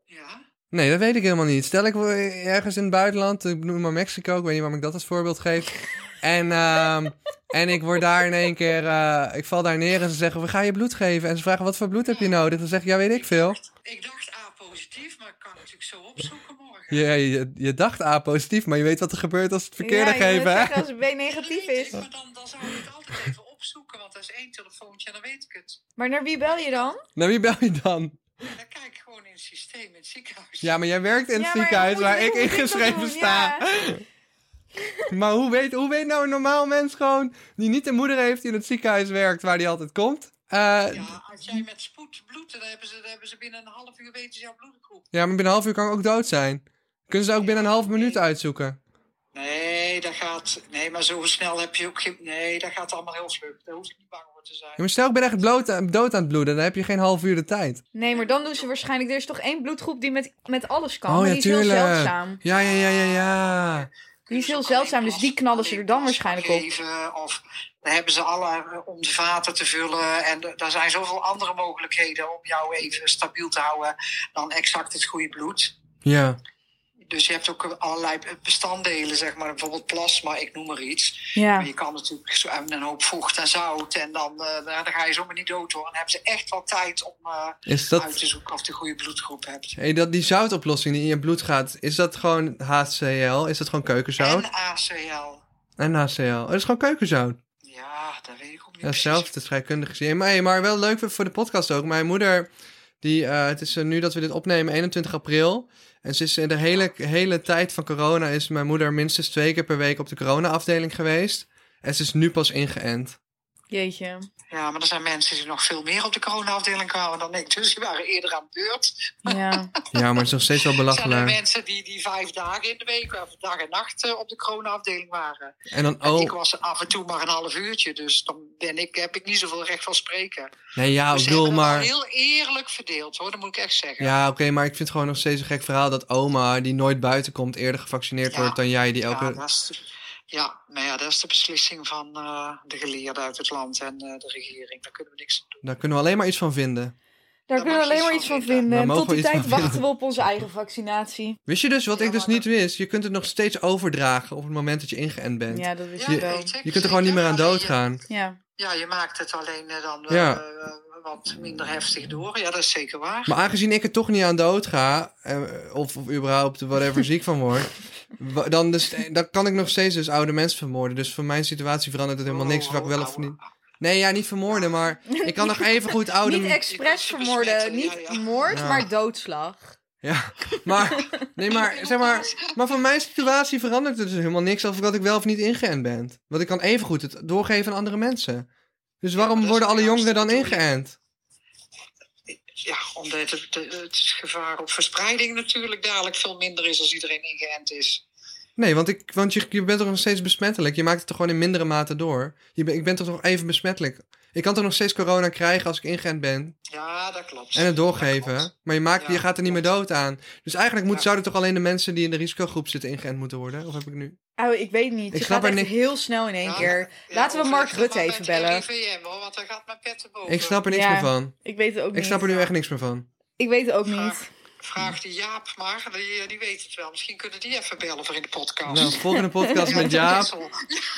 ja? Nee, dat weet ik helemaal niet. Stel ik wil ergens in het buitenland, ik noem maar Mexico, ik weet niet waarom ik dat als voorbeeld geef. En, ehm, en ik word daar in één keer, eh, ik val daar neer en ze zeggen: We gaan je bloed geven. En ze vragen: Wat voor bloed heb je nodig? Dan zeg ik: Ja, weet ik veel. Ik dacht A positief, maar ik kan natuurlijk zo opzoeken morgen. Je, je, je dacht A positief, maar je weet wat er gebeurt als het verkeerde Ja, je geven, moet hè? zeggen Als het B negatief is. Maar dan, dan zou ik het altijd even opzoeken, want dat is één telefoontje en dan weet ik het. Maar naar wie bel je dan? Nou, wie bel je dan? En dan kijk ik gewoon in het systeem, in het ziekenhuis. Ja, maar jij werkt in het Ja, maar ziekenhuis hoe waar moet- ik hoe moet dat ingeschreven doen? sta. Maar hoe weet, hoe weet nou een normaal mens gewoon, die niet een moeder heeft die in het ziekenhuis werkt waar die altijd komt? Eh, ja. Ja, als jij met spoed bloedt, dan hebben ze, dan hebben ze binnen een half uur weten ze jouw bloedgroep. maar binnen een half uur kan ik ook dood zijn. Kunnen ze ook binnen een half minuut uitzoeken? Nee, dat gaat... Nee, maar zo snel heb je ook geen... Nee, dat gaat allemaal heel vlug. Daar hoef ik niet bang voor te zijn. Ja, maar stel ik ben echt bloot, dood aan het bloeden, dan heb je geen half uur de tijd. Nee, maar dan doen ze waarschijnlijk... Er is toch één bloedgroep die met, met alles kan. Oh, maar ja, die is heel tuurlijk. zeldzaam. Ja, ja, ja, ja, ja. Die is heel Dus ook alleen zeldzaam, dus die plas- knallen ze er dan alleen plas waarschijnlijk op. geven, Of dan hebben ze alle eh, om de vaten te vullen. En d- daar zijn zoveel andere mogelijkheden om jou even stabiel te houden dan exact het goede bloed. Ja, Dus je hebt ook allerlei bestanddelen, zeg maar, bijvoorbeeld plasma, ik noem maar iets. Ja. Maar je kan natuurlijk zo- en een hoop vocht en zout en dan, eh, nou, dan ga je zomaar niet dood hoor. Dan hebben ze echt wel tijd om eh, is dat... uit te zoeken of je de goede bloedgroep hebt. Hey, dat, die zoutoplossing die in je bloed gaat, is dat gewoon HCl? Is dat gewoon keukenzout? En ACL. En, HCl. Oh, dat is gewoon keukenzout. Ja, dat weet ik ook niet Ja, precies. zelf het scheikundig gezien. Maar, hey, maar wel leuk voor- voor de podcast ook. Mijn moeder, die, eh, het is eh, nu dat we dit opnemen, 21 april. En ze is in de hele, hele tijd van corona is mijn moeder minstens twee keer per week op de corona-afdeling geweest. En ze is nu pas ingeënt. Jeetje. Ja, maar er zijn mensen die nog veel meer op de corona-afdeling kwamen dan ik. Dus die waren eerder aan de beurt. Ja. Ja, maar het is nog steeds wel Zijn er belachelijk. mensen die, die vijf dagen in de week, of dag en nacht, eh, op de corona-afdeling waren. En dan, En ik oh, was af en toe maar een half uurtje, dus dan ben ik, heb ik niet zoveel recht van spreken. nee, ja, Nou, ik dus ze bedoel, hebben dat maar... heel eerlijk verdeeld, hoor. Dat moet ik echt zeggen. Ja, oké, maar ik vind het gewoon nog steeds een gek verhaal dat oma, die nooit buiten komt, eerder gevaccineerd Ja. wordt dan jij, die Ja, elke... dat is de- ja, maar ja, dat is de beslissing van eh, de geleerden uit het land en eh, de regering. Daar kunnen we niks aan doen. Daar kunnen we alleen maar iets van vinden. Daar kunnen we mag je alleen maar iets iets van van vinden. vinden. Daar En mogen tot die we iets tijd van wachten we op onze eigen vaccinatie. Wist je dus wat Ja, ik dus maar- niet wist? Je kunt het nog steeds overdragen op het moment dat je ingeënt bent. Ja, dat wist Je- ik wel. weet ik Je kunt er gewoon niet meer aan zeker. dood gaan. Ja. Ja, je maakt het alleen eh, dan eh, Ja. eh, wat minder heftig door. Ja, dat is zeker waar. Maar aangezien ik er toch niet aan dood ga, eh, of, of überhaupt whatever ziek van word, wa- dan, dus, eh, dan kan ik nog steeds dus oude mensen vermoorden. Dus voor mijn situatie verandert het helemaal Oh, niks of ik wel of niet. Nee, ja, niet vermoorden, maar ik kan nog even goed oude... Niet expres Je kunt ze besmetten, vermoorden, niet ja, ja. moord, Ja. maar doodslag. Ja, maar, nee, maar, zeg maar, maar van mijn situatie verandert het dus helemaal niks of dat ik wel of niet ingeënt ben. Want ik kan even goed het doorgeven aan andere mensen. Dus waarom maar dat is worden alle de jongeren dan juiste bedoeling. ingeënt? Ja, omdat het, het- het gevaar op verspreiding natuurlijk dadelijk veel minder is als iedereen ingeënt is. Nee, want, ik, want je, je bent toch nog steeds besmettelijk. Je maakt het toch gewoon in mindere mate door. Je ben, ik ben toch nog even besmettelijk. Ik kan toch nog steeds corona krijgen als ik ingeënt ben Ja, dat klopt. en het Dat doorgeven. klopt. Maar je, maakt, Ja, je gaat er niet meer dood aan. Dus eigenlijk moet, Ja. zouden toch alleen de mensen die in de risicogroep zitten ingeënt moeten worden? Of heb ik nu? Oh, ik weet niet. Ik Je snap gaat er echt niks- heel snel in één Ja. keer. Ja, Laten we of Mark leg Rutte maar even met bellen. RIVM, hoor, want daar gaat mijn pet te boven. Ik snap er niks Ja. meer van. Ik weet het ook niet. Ik snap er nu echt niks meer van. Ik weet het ook niet. Vraag, vraag die Jaap maar, die, die weet het wel. Misschien kunnen die even bellen voor in de podcast. Nou, volgende podcast met Ja, Jaap. dat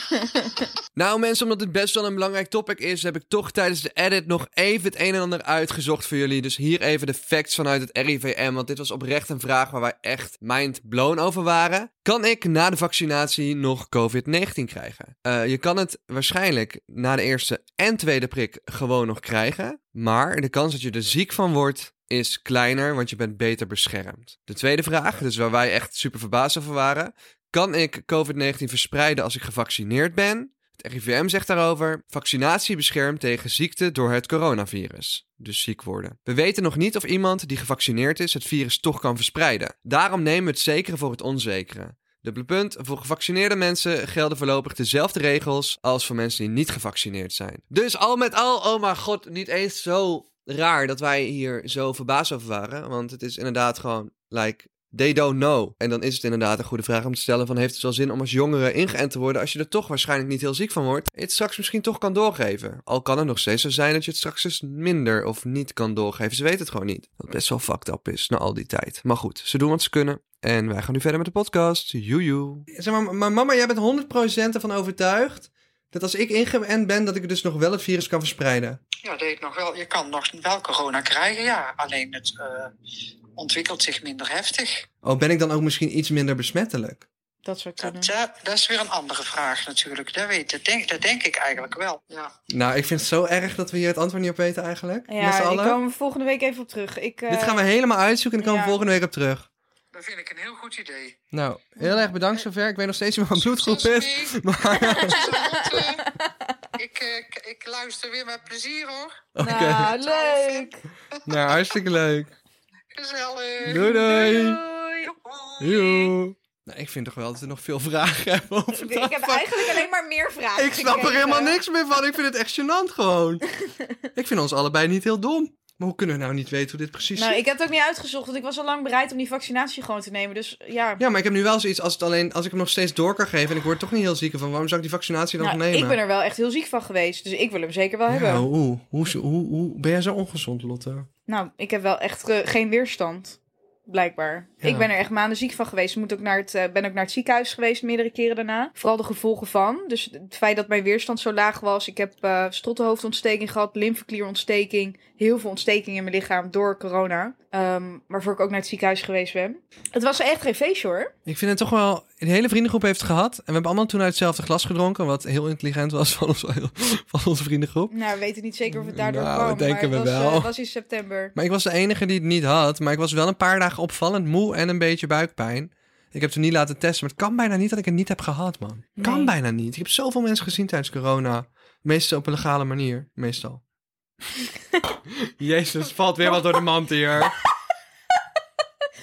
is wel- Nou mensen, omdat dit best wel een belangrijk topic is, heb ik toch tijdens de edit nog even het een en ander uitgezocht voor jullie. Dus hier even de facts vanuit het RIVM, want dit was oprecht een vraag waar wij echt mind blown over waren. Kan ik na de vaccinatie nog COVID-19 krijgen? Eh, je kan het waarschijnlijk na de eerste en tweede prik gewoon nog krijgen, maar de kans dat je er ziek van wordt is kleiner, want je bent beter beschermd. De tweede vraag, dus waar wij echt super verbaasd over waren. Kan ik COVID-19 verspreiden als ik gevaccineerd ben? Het RIVM zegt daarover: vaccinatie beschermt tegen ziekte door het coronavirus, dus ziek worden. We weten nog niet of iemand die gevaccineerd is het virus toch kan verspreiden. Daarom nemen we het zekere voor het onzekere. Dubbele punt, voor gevaccineerde mensen gelden voorlopig dezelfde regels als voor mensen die niet gevaccineerd zijn. Dus al met al, oh mijn god, niet eens zo raar dat wij hier zo verbaasd over waren. Want het is inderdaad gewoon, like, They don't know. En dan is het inderdaad een goede vraag om te stellen van... heeft het wel zin om als jongere ingeënt te worden... als je er toch waarschijnlijk niet heel ziek van wordt... en je het straks misschien toch kan doorgeven. Al kan het nog steeds zo zijn dat je het straks dus minder of niet kan doorgeven. Ze weten het gewoon niet. Dat best wel fucked up is na al die tijd. Maar goed, ze doen wat ze kunnen. En wij gaan nu verder met de podcast. Joejoe. Zeg maar, maar mama, jij bent 100% ervan overtuigd... dat als ik ingeënt ben, dat ik dus nog wel het virus kan verspreiden. Ja, deed nog wel. Je kan nog wel corona krijgen, ja. Alleen het eh, ontwikkelt zich minder heftig. Oh, ben ik dan ook misschien iets minder besmettelijk? Dat zou kunnen. Dat, ja, dat is weer een andere vraag natuurlijk. Dat, weet, dat, denk, dat denk ik eigenlijk wel. Ja. Nou, ik vind het zo erg dat we hier het antwoord niet op weten eigenlijk. Met z'n Ja, ik allen. komen we volgende week even op terug. Ik, eh, Dit gaan we helemaal uitzoeken en dan komen we ja. volgende week op terug. Dat vind ik een heel goed idee. Nou, heel erg bedankt zover. Ik weet nog steeds niet wat mijn bloedgroep Succes is. ermee. Maar Succes, eh, ik, eh, k- ik luister weer met plezier hoor. oké. Nou, leuk. Nou, hartstikke leuk. Gezellig. Doei doei. Doei. Joe. Nou, ik vind toch wel dat we nog veel vragen hebben over dat Ik heb vak. eigenlijk alleen maar meer vragen. Ik snap er gekregen. helemaal niks meer van. Ik vind het echt gênant gewoon. Ik vind ons allebei niet heel dom. Maar hoe kunnen we nou niet weten hoe dit precies Nou, zit? ik heb het ook niet uitgezocht, want ik was al lang bereid om die vaccinatie gewoon te nemen. Dus ja. Ja, maar ik heb nu wel zoiets als, het alleen, als ik hem nog steeds door kan geven en ik word toch niet heel ziek van waarom zou ik die vaccinatie dan Nou, nog nemen? ik ben er wel echt heel ziek van geweest, dus ik wil hem zeker wel Ja, hebben. hoe, hoe, hoe, hoe ben jij zo ongezond, Lotte? Nou, ik heb wel echt eh, geen weerstand, blijkbaar. Ja. Ik ben er echt maanden ziek van geweest. Moet ook naar het, eh, ben ook naar het ziekenhuis geweest meerdere keren daarna. Vooral de gevolgen van. Dus het feit dat mijn weerstand zo laag was. Ik heb eh strottenhoofdontsteking gehad, lymfeklierontsteking. Heel veel ontstekingen in mijn lichaam door corona. Ehm, waarvoor ik ook naar het ziekenhuis geweest ben. Het was echt geen feestje hoor. Ik vind het toch wel... Een hele vriendengroep heeft het gehad. En we hebben allemaal toen uit hetzelfde glas gedronken. Wat heel intelligent was van, ons, van onze vriendengroep. Nou, we weten niet zeker of het daardoor Nou, kwam. dat denken maar het we was, eh, wel. het was in september. Maar ik was de enige die het niet had. Maar ik was wel een paar dagen opvallend moe en een beetje buikpijn. Ik heb toen niet laten testen. Maar het kan bijna niet dat ik het niet heb gehad, man. Kan Nee. bijna niet. Ik heb zoveel mensen gezien tijdens corona. Meestal op een legale manier. Meestal. Jezus, valt weer wat door de mand hier.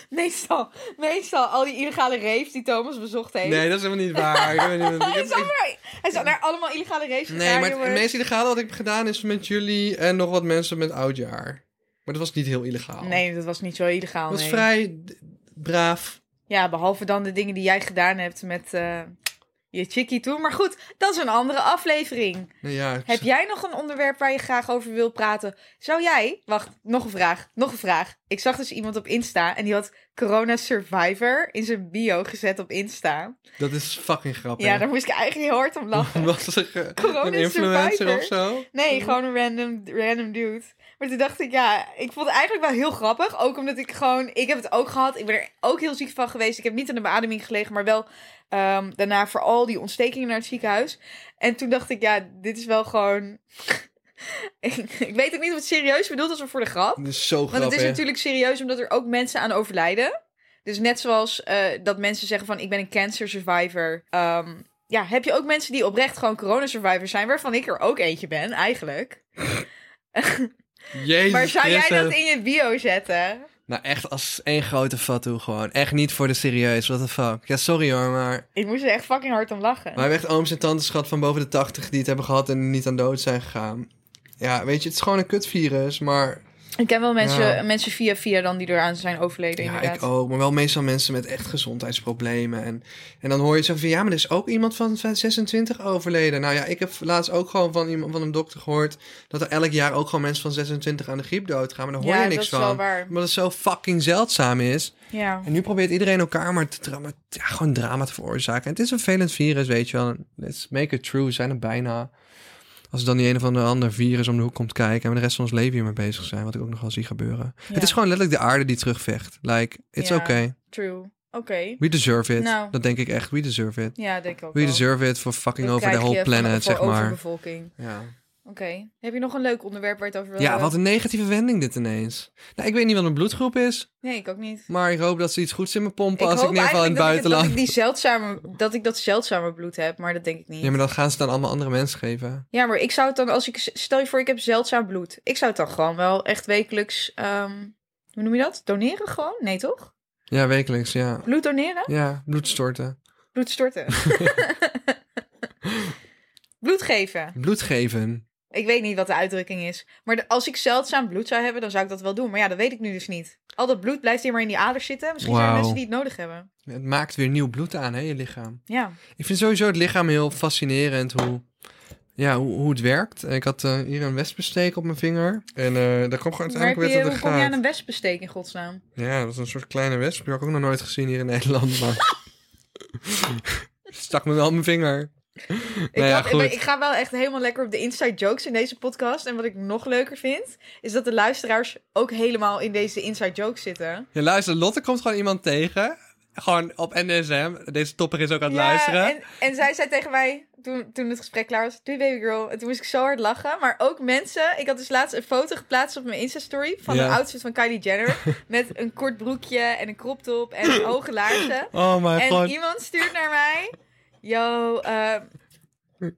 Meestal, meestal al die illegale raves die Thomas bezocht heeft. Nee, dat is helemaal niet waar. Ik weet niet- ik Hij heb- is, allemaal, hij is al naar allemaal illegale raves Nee, gegaan, maar het jongens. meest illegale wat ik heb gedaan is met jullie en nog wat mensen met oudjaar. Maar dat was niet heel illegaal. Nee, dat was niet zo illegaal. Dat was nee. vrij d- braaf. Ja, behalve dan de dingen die jij gedaan hebt met eh, je chickie toe. Maar goed, dat is een andere aflevering. Nou ja, ik- Heb jij nog een onderwerp waar je graag over wil praten? Zou jij... Wacht, nog een vraag. Nog een vraag. Ik zag dus iemand op Insta en die had Corona Survivor in zijn bio gezet op Insta. Dat is fucking grappig. Ja, daar moest ik eigenlijk heel hard om lachen. Was er eh, Corona een influencer survivor. of zo? Nee, gewoon een random, random dude. Maar toen dacht ik, ja, ik vond het eigenlijk wel heel grappig. Ook omdat ik gewoon, ik heb het ook gehad. Ik ben er ook heel ziek van geweest. Ik heb niet aan de beademing gelegen, maar wel ehm, daarna voor al die ontstekingen naar het ziekenhuis. En toen dacht ik, ja, dit is wel gewoon... ik, ik weet ook niet of het serieus bedoeld is of voor de grap. Dat is zo Want grappig. het is natuurlijk serieus omdat er ook mensen aan overlijden. Dus net zoals eh, dat mensen zeggen van ik ben een cancer survivor. ehm, ja, heb je ook mensen die oprecht gewoon corona survivor zijn, waarvan ik er ook eentje ben, eigenlijk. Jezus maar zou jij Christus. dat in je bio zetten? Nou, echt als één grote fatu gewoon. Echt niet voor de serieus, what the fuck. Ja, sorry hoor, maar... Ik moest er echt fucking hard om lachen. Maar we hebben echt ooms en tantes gehad van boven de 80 die het hebben gehad en niet aan dood zijn gegaan. Ja, weet je, het is gewoon een kutvirus, maar... Ik ken wel mensen, Ja. mensen via via dan die eraan zijn overleden, Ja, inderdaad. ik ook. Maar wel meestal mensen met echt gezondheidsproblemen. En, en dan hoor je zo van, ja, maar er is ook iemand van 26 overleden. Nou ja, ik heb laatst ook gewoon van, iemand, van een dokter gehoord... dat er elk jaar ook gewoon mensen van 26 aan de griep doodgaan. Maar daar hoor ja, je niks dat is wel van. waar. Omdat het zo fucking zeldzaam is. Ja. En nu probeert iedereen elkaar maar te drama, ja, gewoon drama te veroorzaken. En het is een vervelend virus, weet je wel. Let's make it true, we zijn er bijna. Als er dan die een of andere ander virus om de hoek komt kijken... en we de rest van ons leven hiermee bezig zijn, wat ik ook nog wel zie gebeuren. Het is gewoon letterlijk de aarde die terugvecht. Like, it's Ja. okay. True. Oké. We deserve it. Nou. Dat denk ik echt, we deserve it. Ja, denk ik ook We deserve it for fucking over the whole planet, zeg maar. Overbevolking. Ja. Oké. Heb je nog een leuk onderwerp waar je het over wil ja, hebben? wat een negatieve wending dit ineens. Nou, ik weet niet wat een bloedgroep is... Nee, ik ook niet. maar ik hoop dat ze iets goeds in me pompen... als ik hoop in ieder geval in het eigenlijk buitenland... dat ik- Dat ik, die zeldzame, dat ik dat zeldzame bloed heb, maar dat denk ik niet. Ja, maar dan gaan ze het aan allemaal andere mensen geven. Ja, maar ik zou het dan, als ik, stel je voor, ik heb zeldzaam bloed. Ik zou het dan gewoon wel echt wekelijks, ehm, hoe noem je dat? Doneren gewoon? Nee, toch? Ja, wekelijks, ja. Bloed doneren? Ja, bloed storten. Bloed storten. bloed geven. Bloed geven. Ik weet niet wat de uitdrukking is. Maar de- als ik zeldzaam bloed zou hebben, dan zou ik dat wel doen. Maar ja, dat weet ik nu dus niet. Al dat bloed blijft hier maar in die aders zitten. Misschien zijn er Wauw. mensen die het nodig hebben. Het maakt weer nieuw bloed aan, hè, je lichaam. Ja. Ik vind sowieso het lichaam heel fascinerend hoe, ja, hoe, hoe het werkt. Ik had eh, hier een wespensteek op mijn vinger. En eh, daar kwam gewoon Maar heb uiteindelijk weer je, tot de hoe kom je aan een gaten. wespensteek in godsnaam? Ja, dat is een soort kleine wesp. Die had ik ook nog nooit gezien hier in Nederland. Maar... Stak me wel op mijn vinger. Ik, Nou ja, had- ik- goed. ik ga wel echt helemaal lekker op de inside jokes in deze podcast. En wat ik nog leuker vind, is dat de luisteraars ook helemaal in deze inside jokes zitten. Ja, luister, Lotte komt gewoon iemand tegen. Gewoon op NSM. Deze topper is ook aan het luisteren. En, en zij zei tegen mij, toen, toen het gesprek klaar was, doei baby girl. En toen moest ik zo hard lachen. Maar ook mensen, ik had dus laatst een foto geplaatst op mijn Insta-story van Ja. een outfit van Kylie Jenner. met een kort broekje en een crop top en hoge laarzen. Oh my En god. iemand stuurt naar mij. Yo, eh,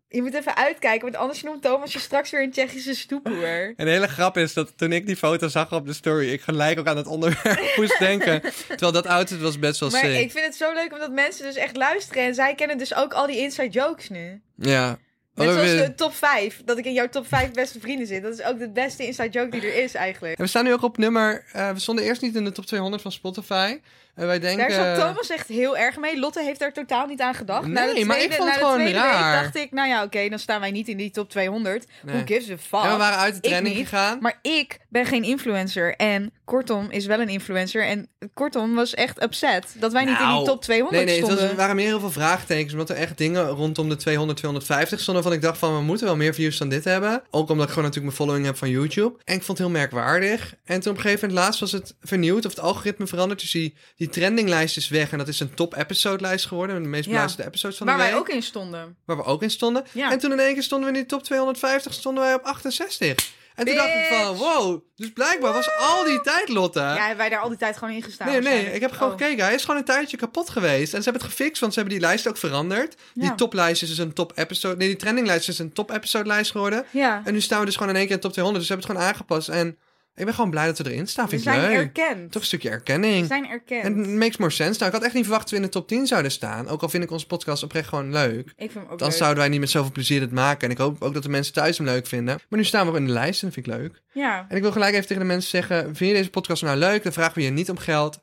je moet even uitkijken, want anders noemt Thomas je straks weer een Tsjechische stoephoer. En de hele grap is dat toen ik die foto zag op de story, ik gelijk ook aan het onderwerp moest denken. Terwijl dat outfit was best wel Maar sick. ik vind het zo leuk omdat mensen dus echt luisteren. En zij kennen dus ook al die inside jokes nu. Ja. Net Oh, we, zoals de top 5. Dat ik in jouw top 5 beste vrienden zit. Dat is ook de beste inside joke die er is eigenlijk. en we staan nu ook op nummer. eh, we stonden eerst niet in de top 200 van Spotify. En wij denken. Daar zat Thomas echt heel erg mee. Lotte heeft daar totaal niet aan gedacht. Nee, na de tweede, maar ik vond na het de gewoon tweede raar. Week dacht ik, nou ja, oké, dan staan wij niet in die top 200. Nee. Who gives a fuck? Ja, we waren uit de Ik training niet. gegaan. Maar ik ben geen influencer. En Kortom is wel een influencer. En Kortom was echt upset dat wij niet in Nou, die top Nee, 200 nee, het was- stonden. er waren meer heel veel vraagtekens. Omdat er echt dingen rondom de 200, 250 stonden. Van ik dacht van, we moeten wel meer views dan dit hebben. Ook omdat ik gewoon natuurlijk mijn following heb van YouTube. En ik vond het heel merkwaardig. En toen op een gegeven moment laatst was het vernieuwd of het algoritme veranderd. Dus die, die trendinglijst is weg. En dat is een top-episode-lijst geworden. De meest Ja. beluisterde episodes van Waar de wij week. ook in stonden. Waar we ook in stonden. Ja. En toen in één keer stonden we in die top 250, stonden wij op 68. En toen dacht ik van, Bitch. wow. Dus blijkbaar was al die tijd, Lotte. Ja, hebben wij daar al die tijd gewoon in gestaan? Nee, nee, waarschijnlijk. ik heb gewoon Oh. gekeken. Hij is gewoon een tijdje kapot geweest. En ze hebben het gefixt, want ze hebben die lijst ook veranderd. Die Ja. toplijst is dus een top-episode... Nee, die trendinglijst is een top-episode-lijst geworden. Ja, En nu staan we dus gewoon in één keer in de top 200. Dus ze hebben het gewoon aangepast. En ik ben gewoon blij dat we erin staan. we Vind ik zijn leuk. erkend. Toch een stukje We erkenning. zijn erkend. En het makes more sense. Nou, ik had echt niet verwacht dat we in de top 10 zouden staan. Ook al vind ik onze podcast oprecht gewoon leuk. Ik vind hem ook Dan leuk. zouden wij niet met zoveel plezier dit maken. En ik hoop ook dat de mensen thuis hem leuk vinden. Maar nu staan we in de lijst en dat vind ik leuk. Ja. En ik wil gelijk even tegen de mensen zeggen: Vind je deze podcast nou leuk? Dan vragen we je niet om geld.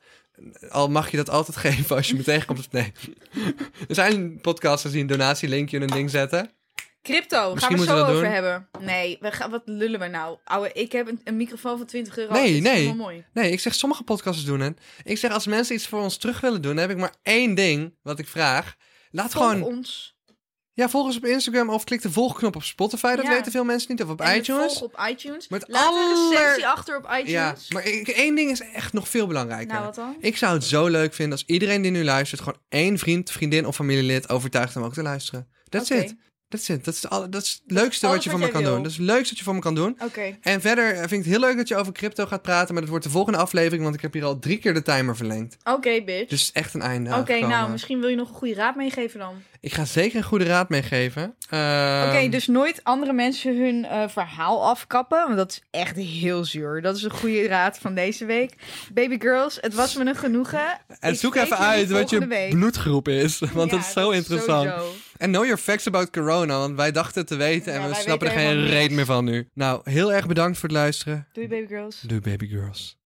Al mag je dat altijd geven als je me tegenkomt of nee. er zijn podcasters die een donatielinkje in hun ding zetten. Crypto, Misschien gaan we moeten we het zo dat over doen. hebben. Nee, we gaan, wat lullen we nou? Ouwe, ik heb een, een microfoon van 20 euro. Nee, Dit is nee. helemaal mooi. Nee, ik zeg sommige podcasts doen het. Ik zeg als mensen iets voor ons terug willen doen, dan heb ik maar één ding wat ik vraag. Laat Volg gewoon. ons. Ja, volg ons op Instagram of klik de volgknop op Spotify. Dat Ja. weten veel mensen niet. Of op En iTunes. Volg op iTunes. Met Laat een aller- recensie achter op iTunes. Ja, maar ik, één ding is echt nog veel belangrijker. nou, wat dan? Ik zou het zo leuk vinden als iedereen die nu luistert... gewoon één vriend, vriendin of familielid overtuigt om ook te luisteren. That's Oké. it. That's it. Dat is, het alle- dat is het leukste Alles wat je wat voor me jij kan wil. doen. Dat is het leukste wat je voor me kan doen. Oké. En verder eh, vind ik het heel leuk dat je over crypto gaat praten... maar dat wordt de volgende aflevering... want ik heb hier al drie keer de timer verlengd. Oké, bitch. Dus echt een einde Oké, aangekomen. nou, misschien wil je nog een goede raad meegeven dan. Ik ga zeker een goede raad meegeven. Ehm, Oké, dus nooit andere mensen hun eh, verhaal afkappen. Want dat is echt heel zuur. Dat is een goede raad van deze week. Baby girls, het was me een genoegen. En Ik zoek spreek even jullie uit wat je volgende week. bloedgroep is. Want Ja, dat is zo interessant. sowieso. En know your facts about corona, want wij dachten te weten en Ja, we wij snappen er weten geen helemaal niks. reet meer van nu. Nou, heel erg bedankt voor het luisteren. Doei baby girls. Doei baby girls.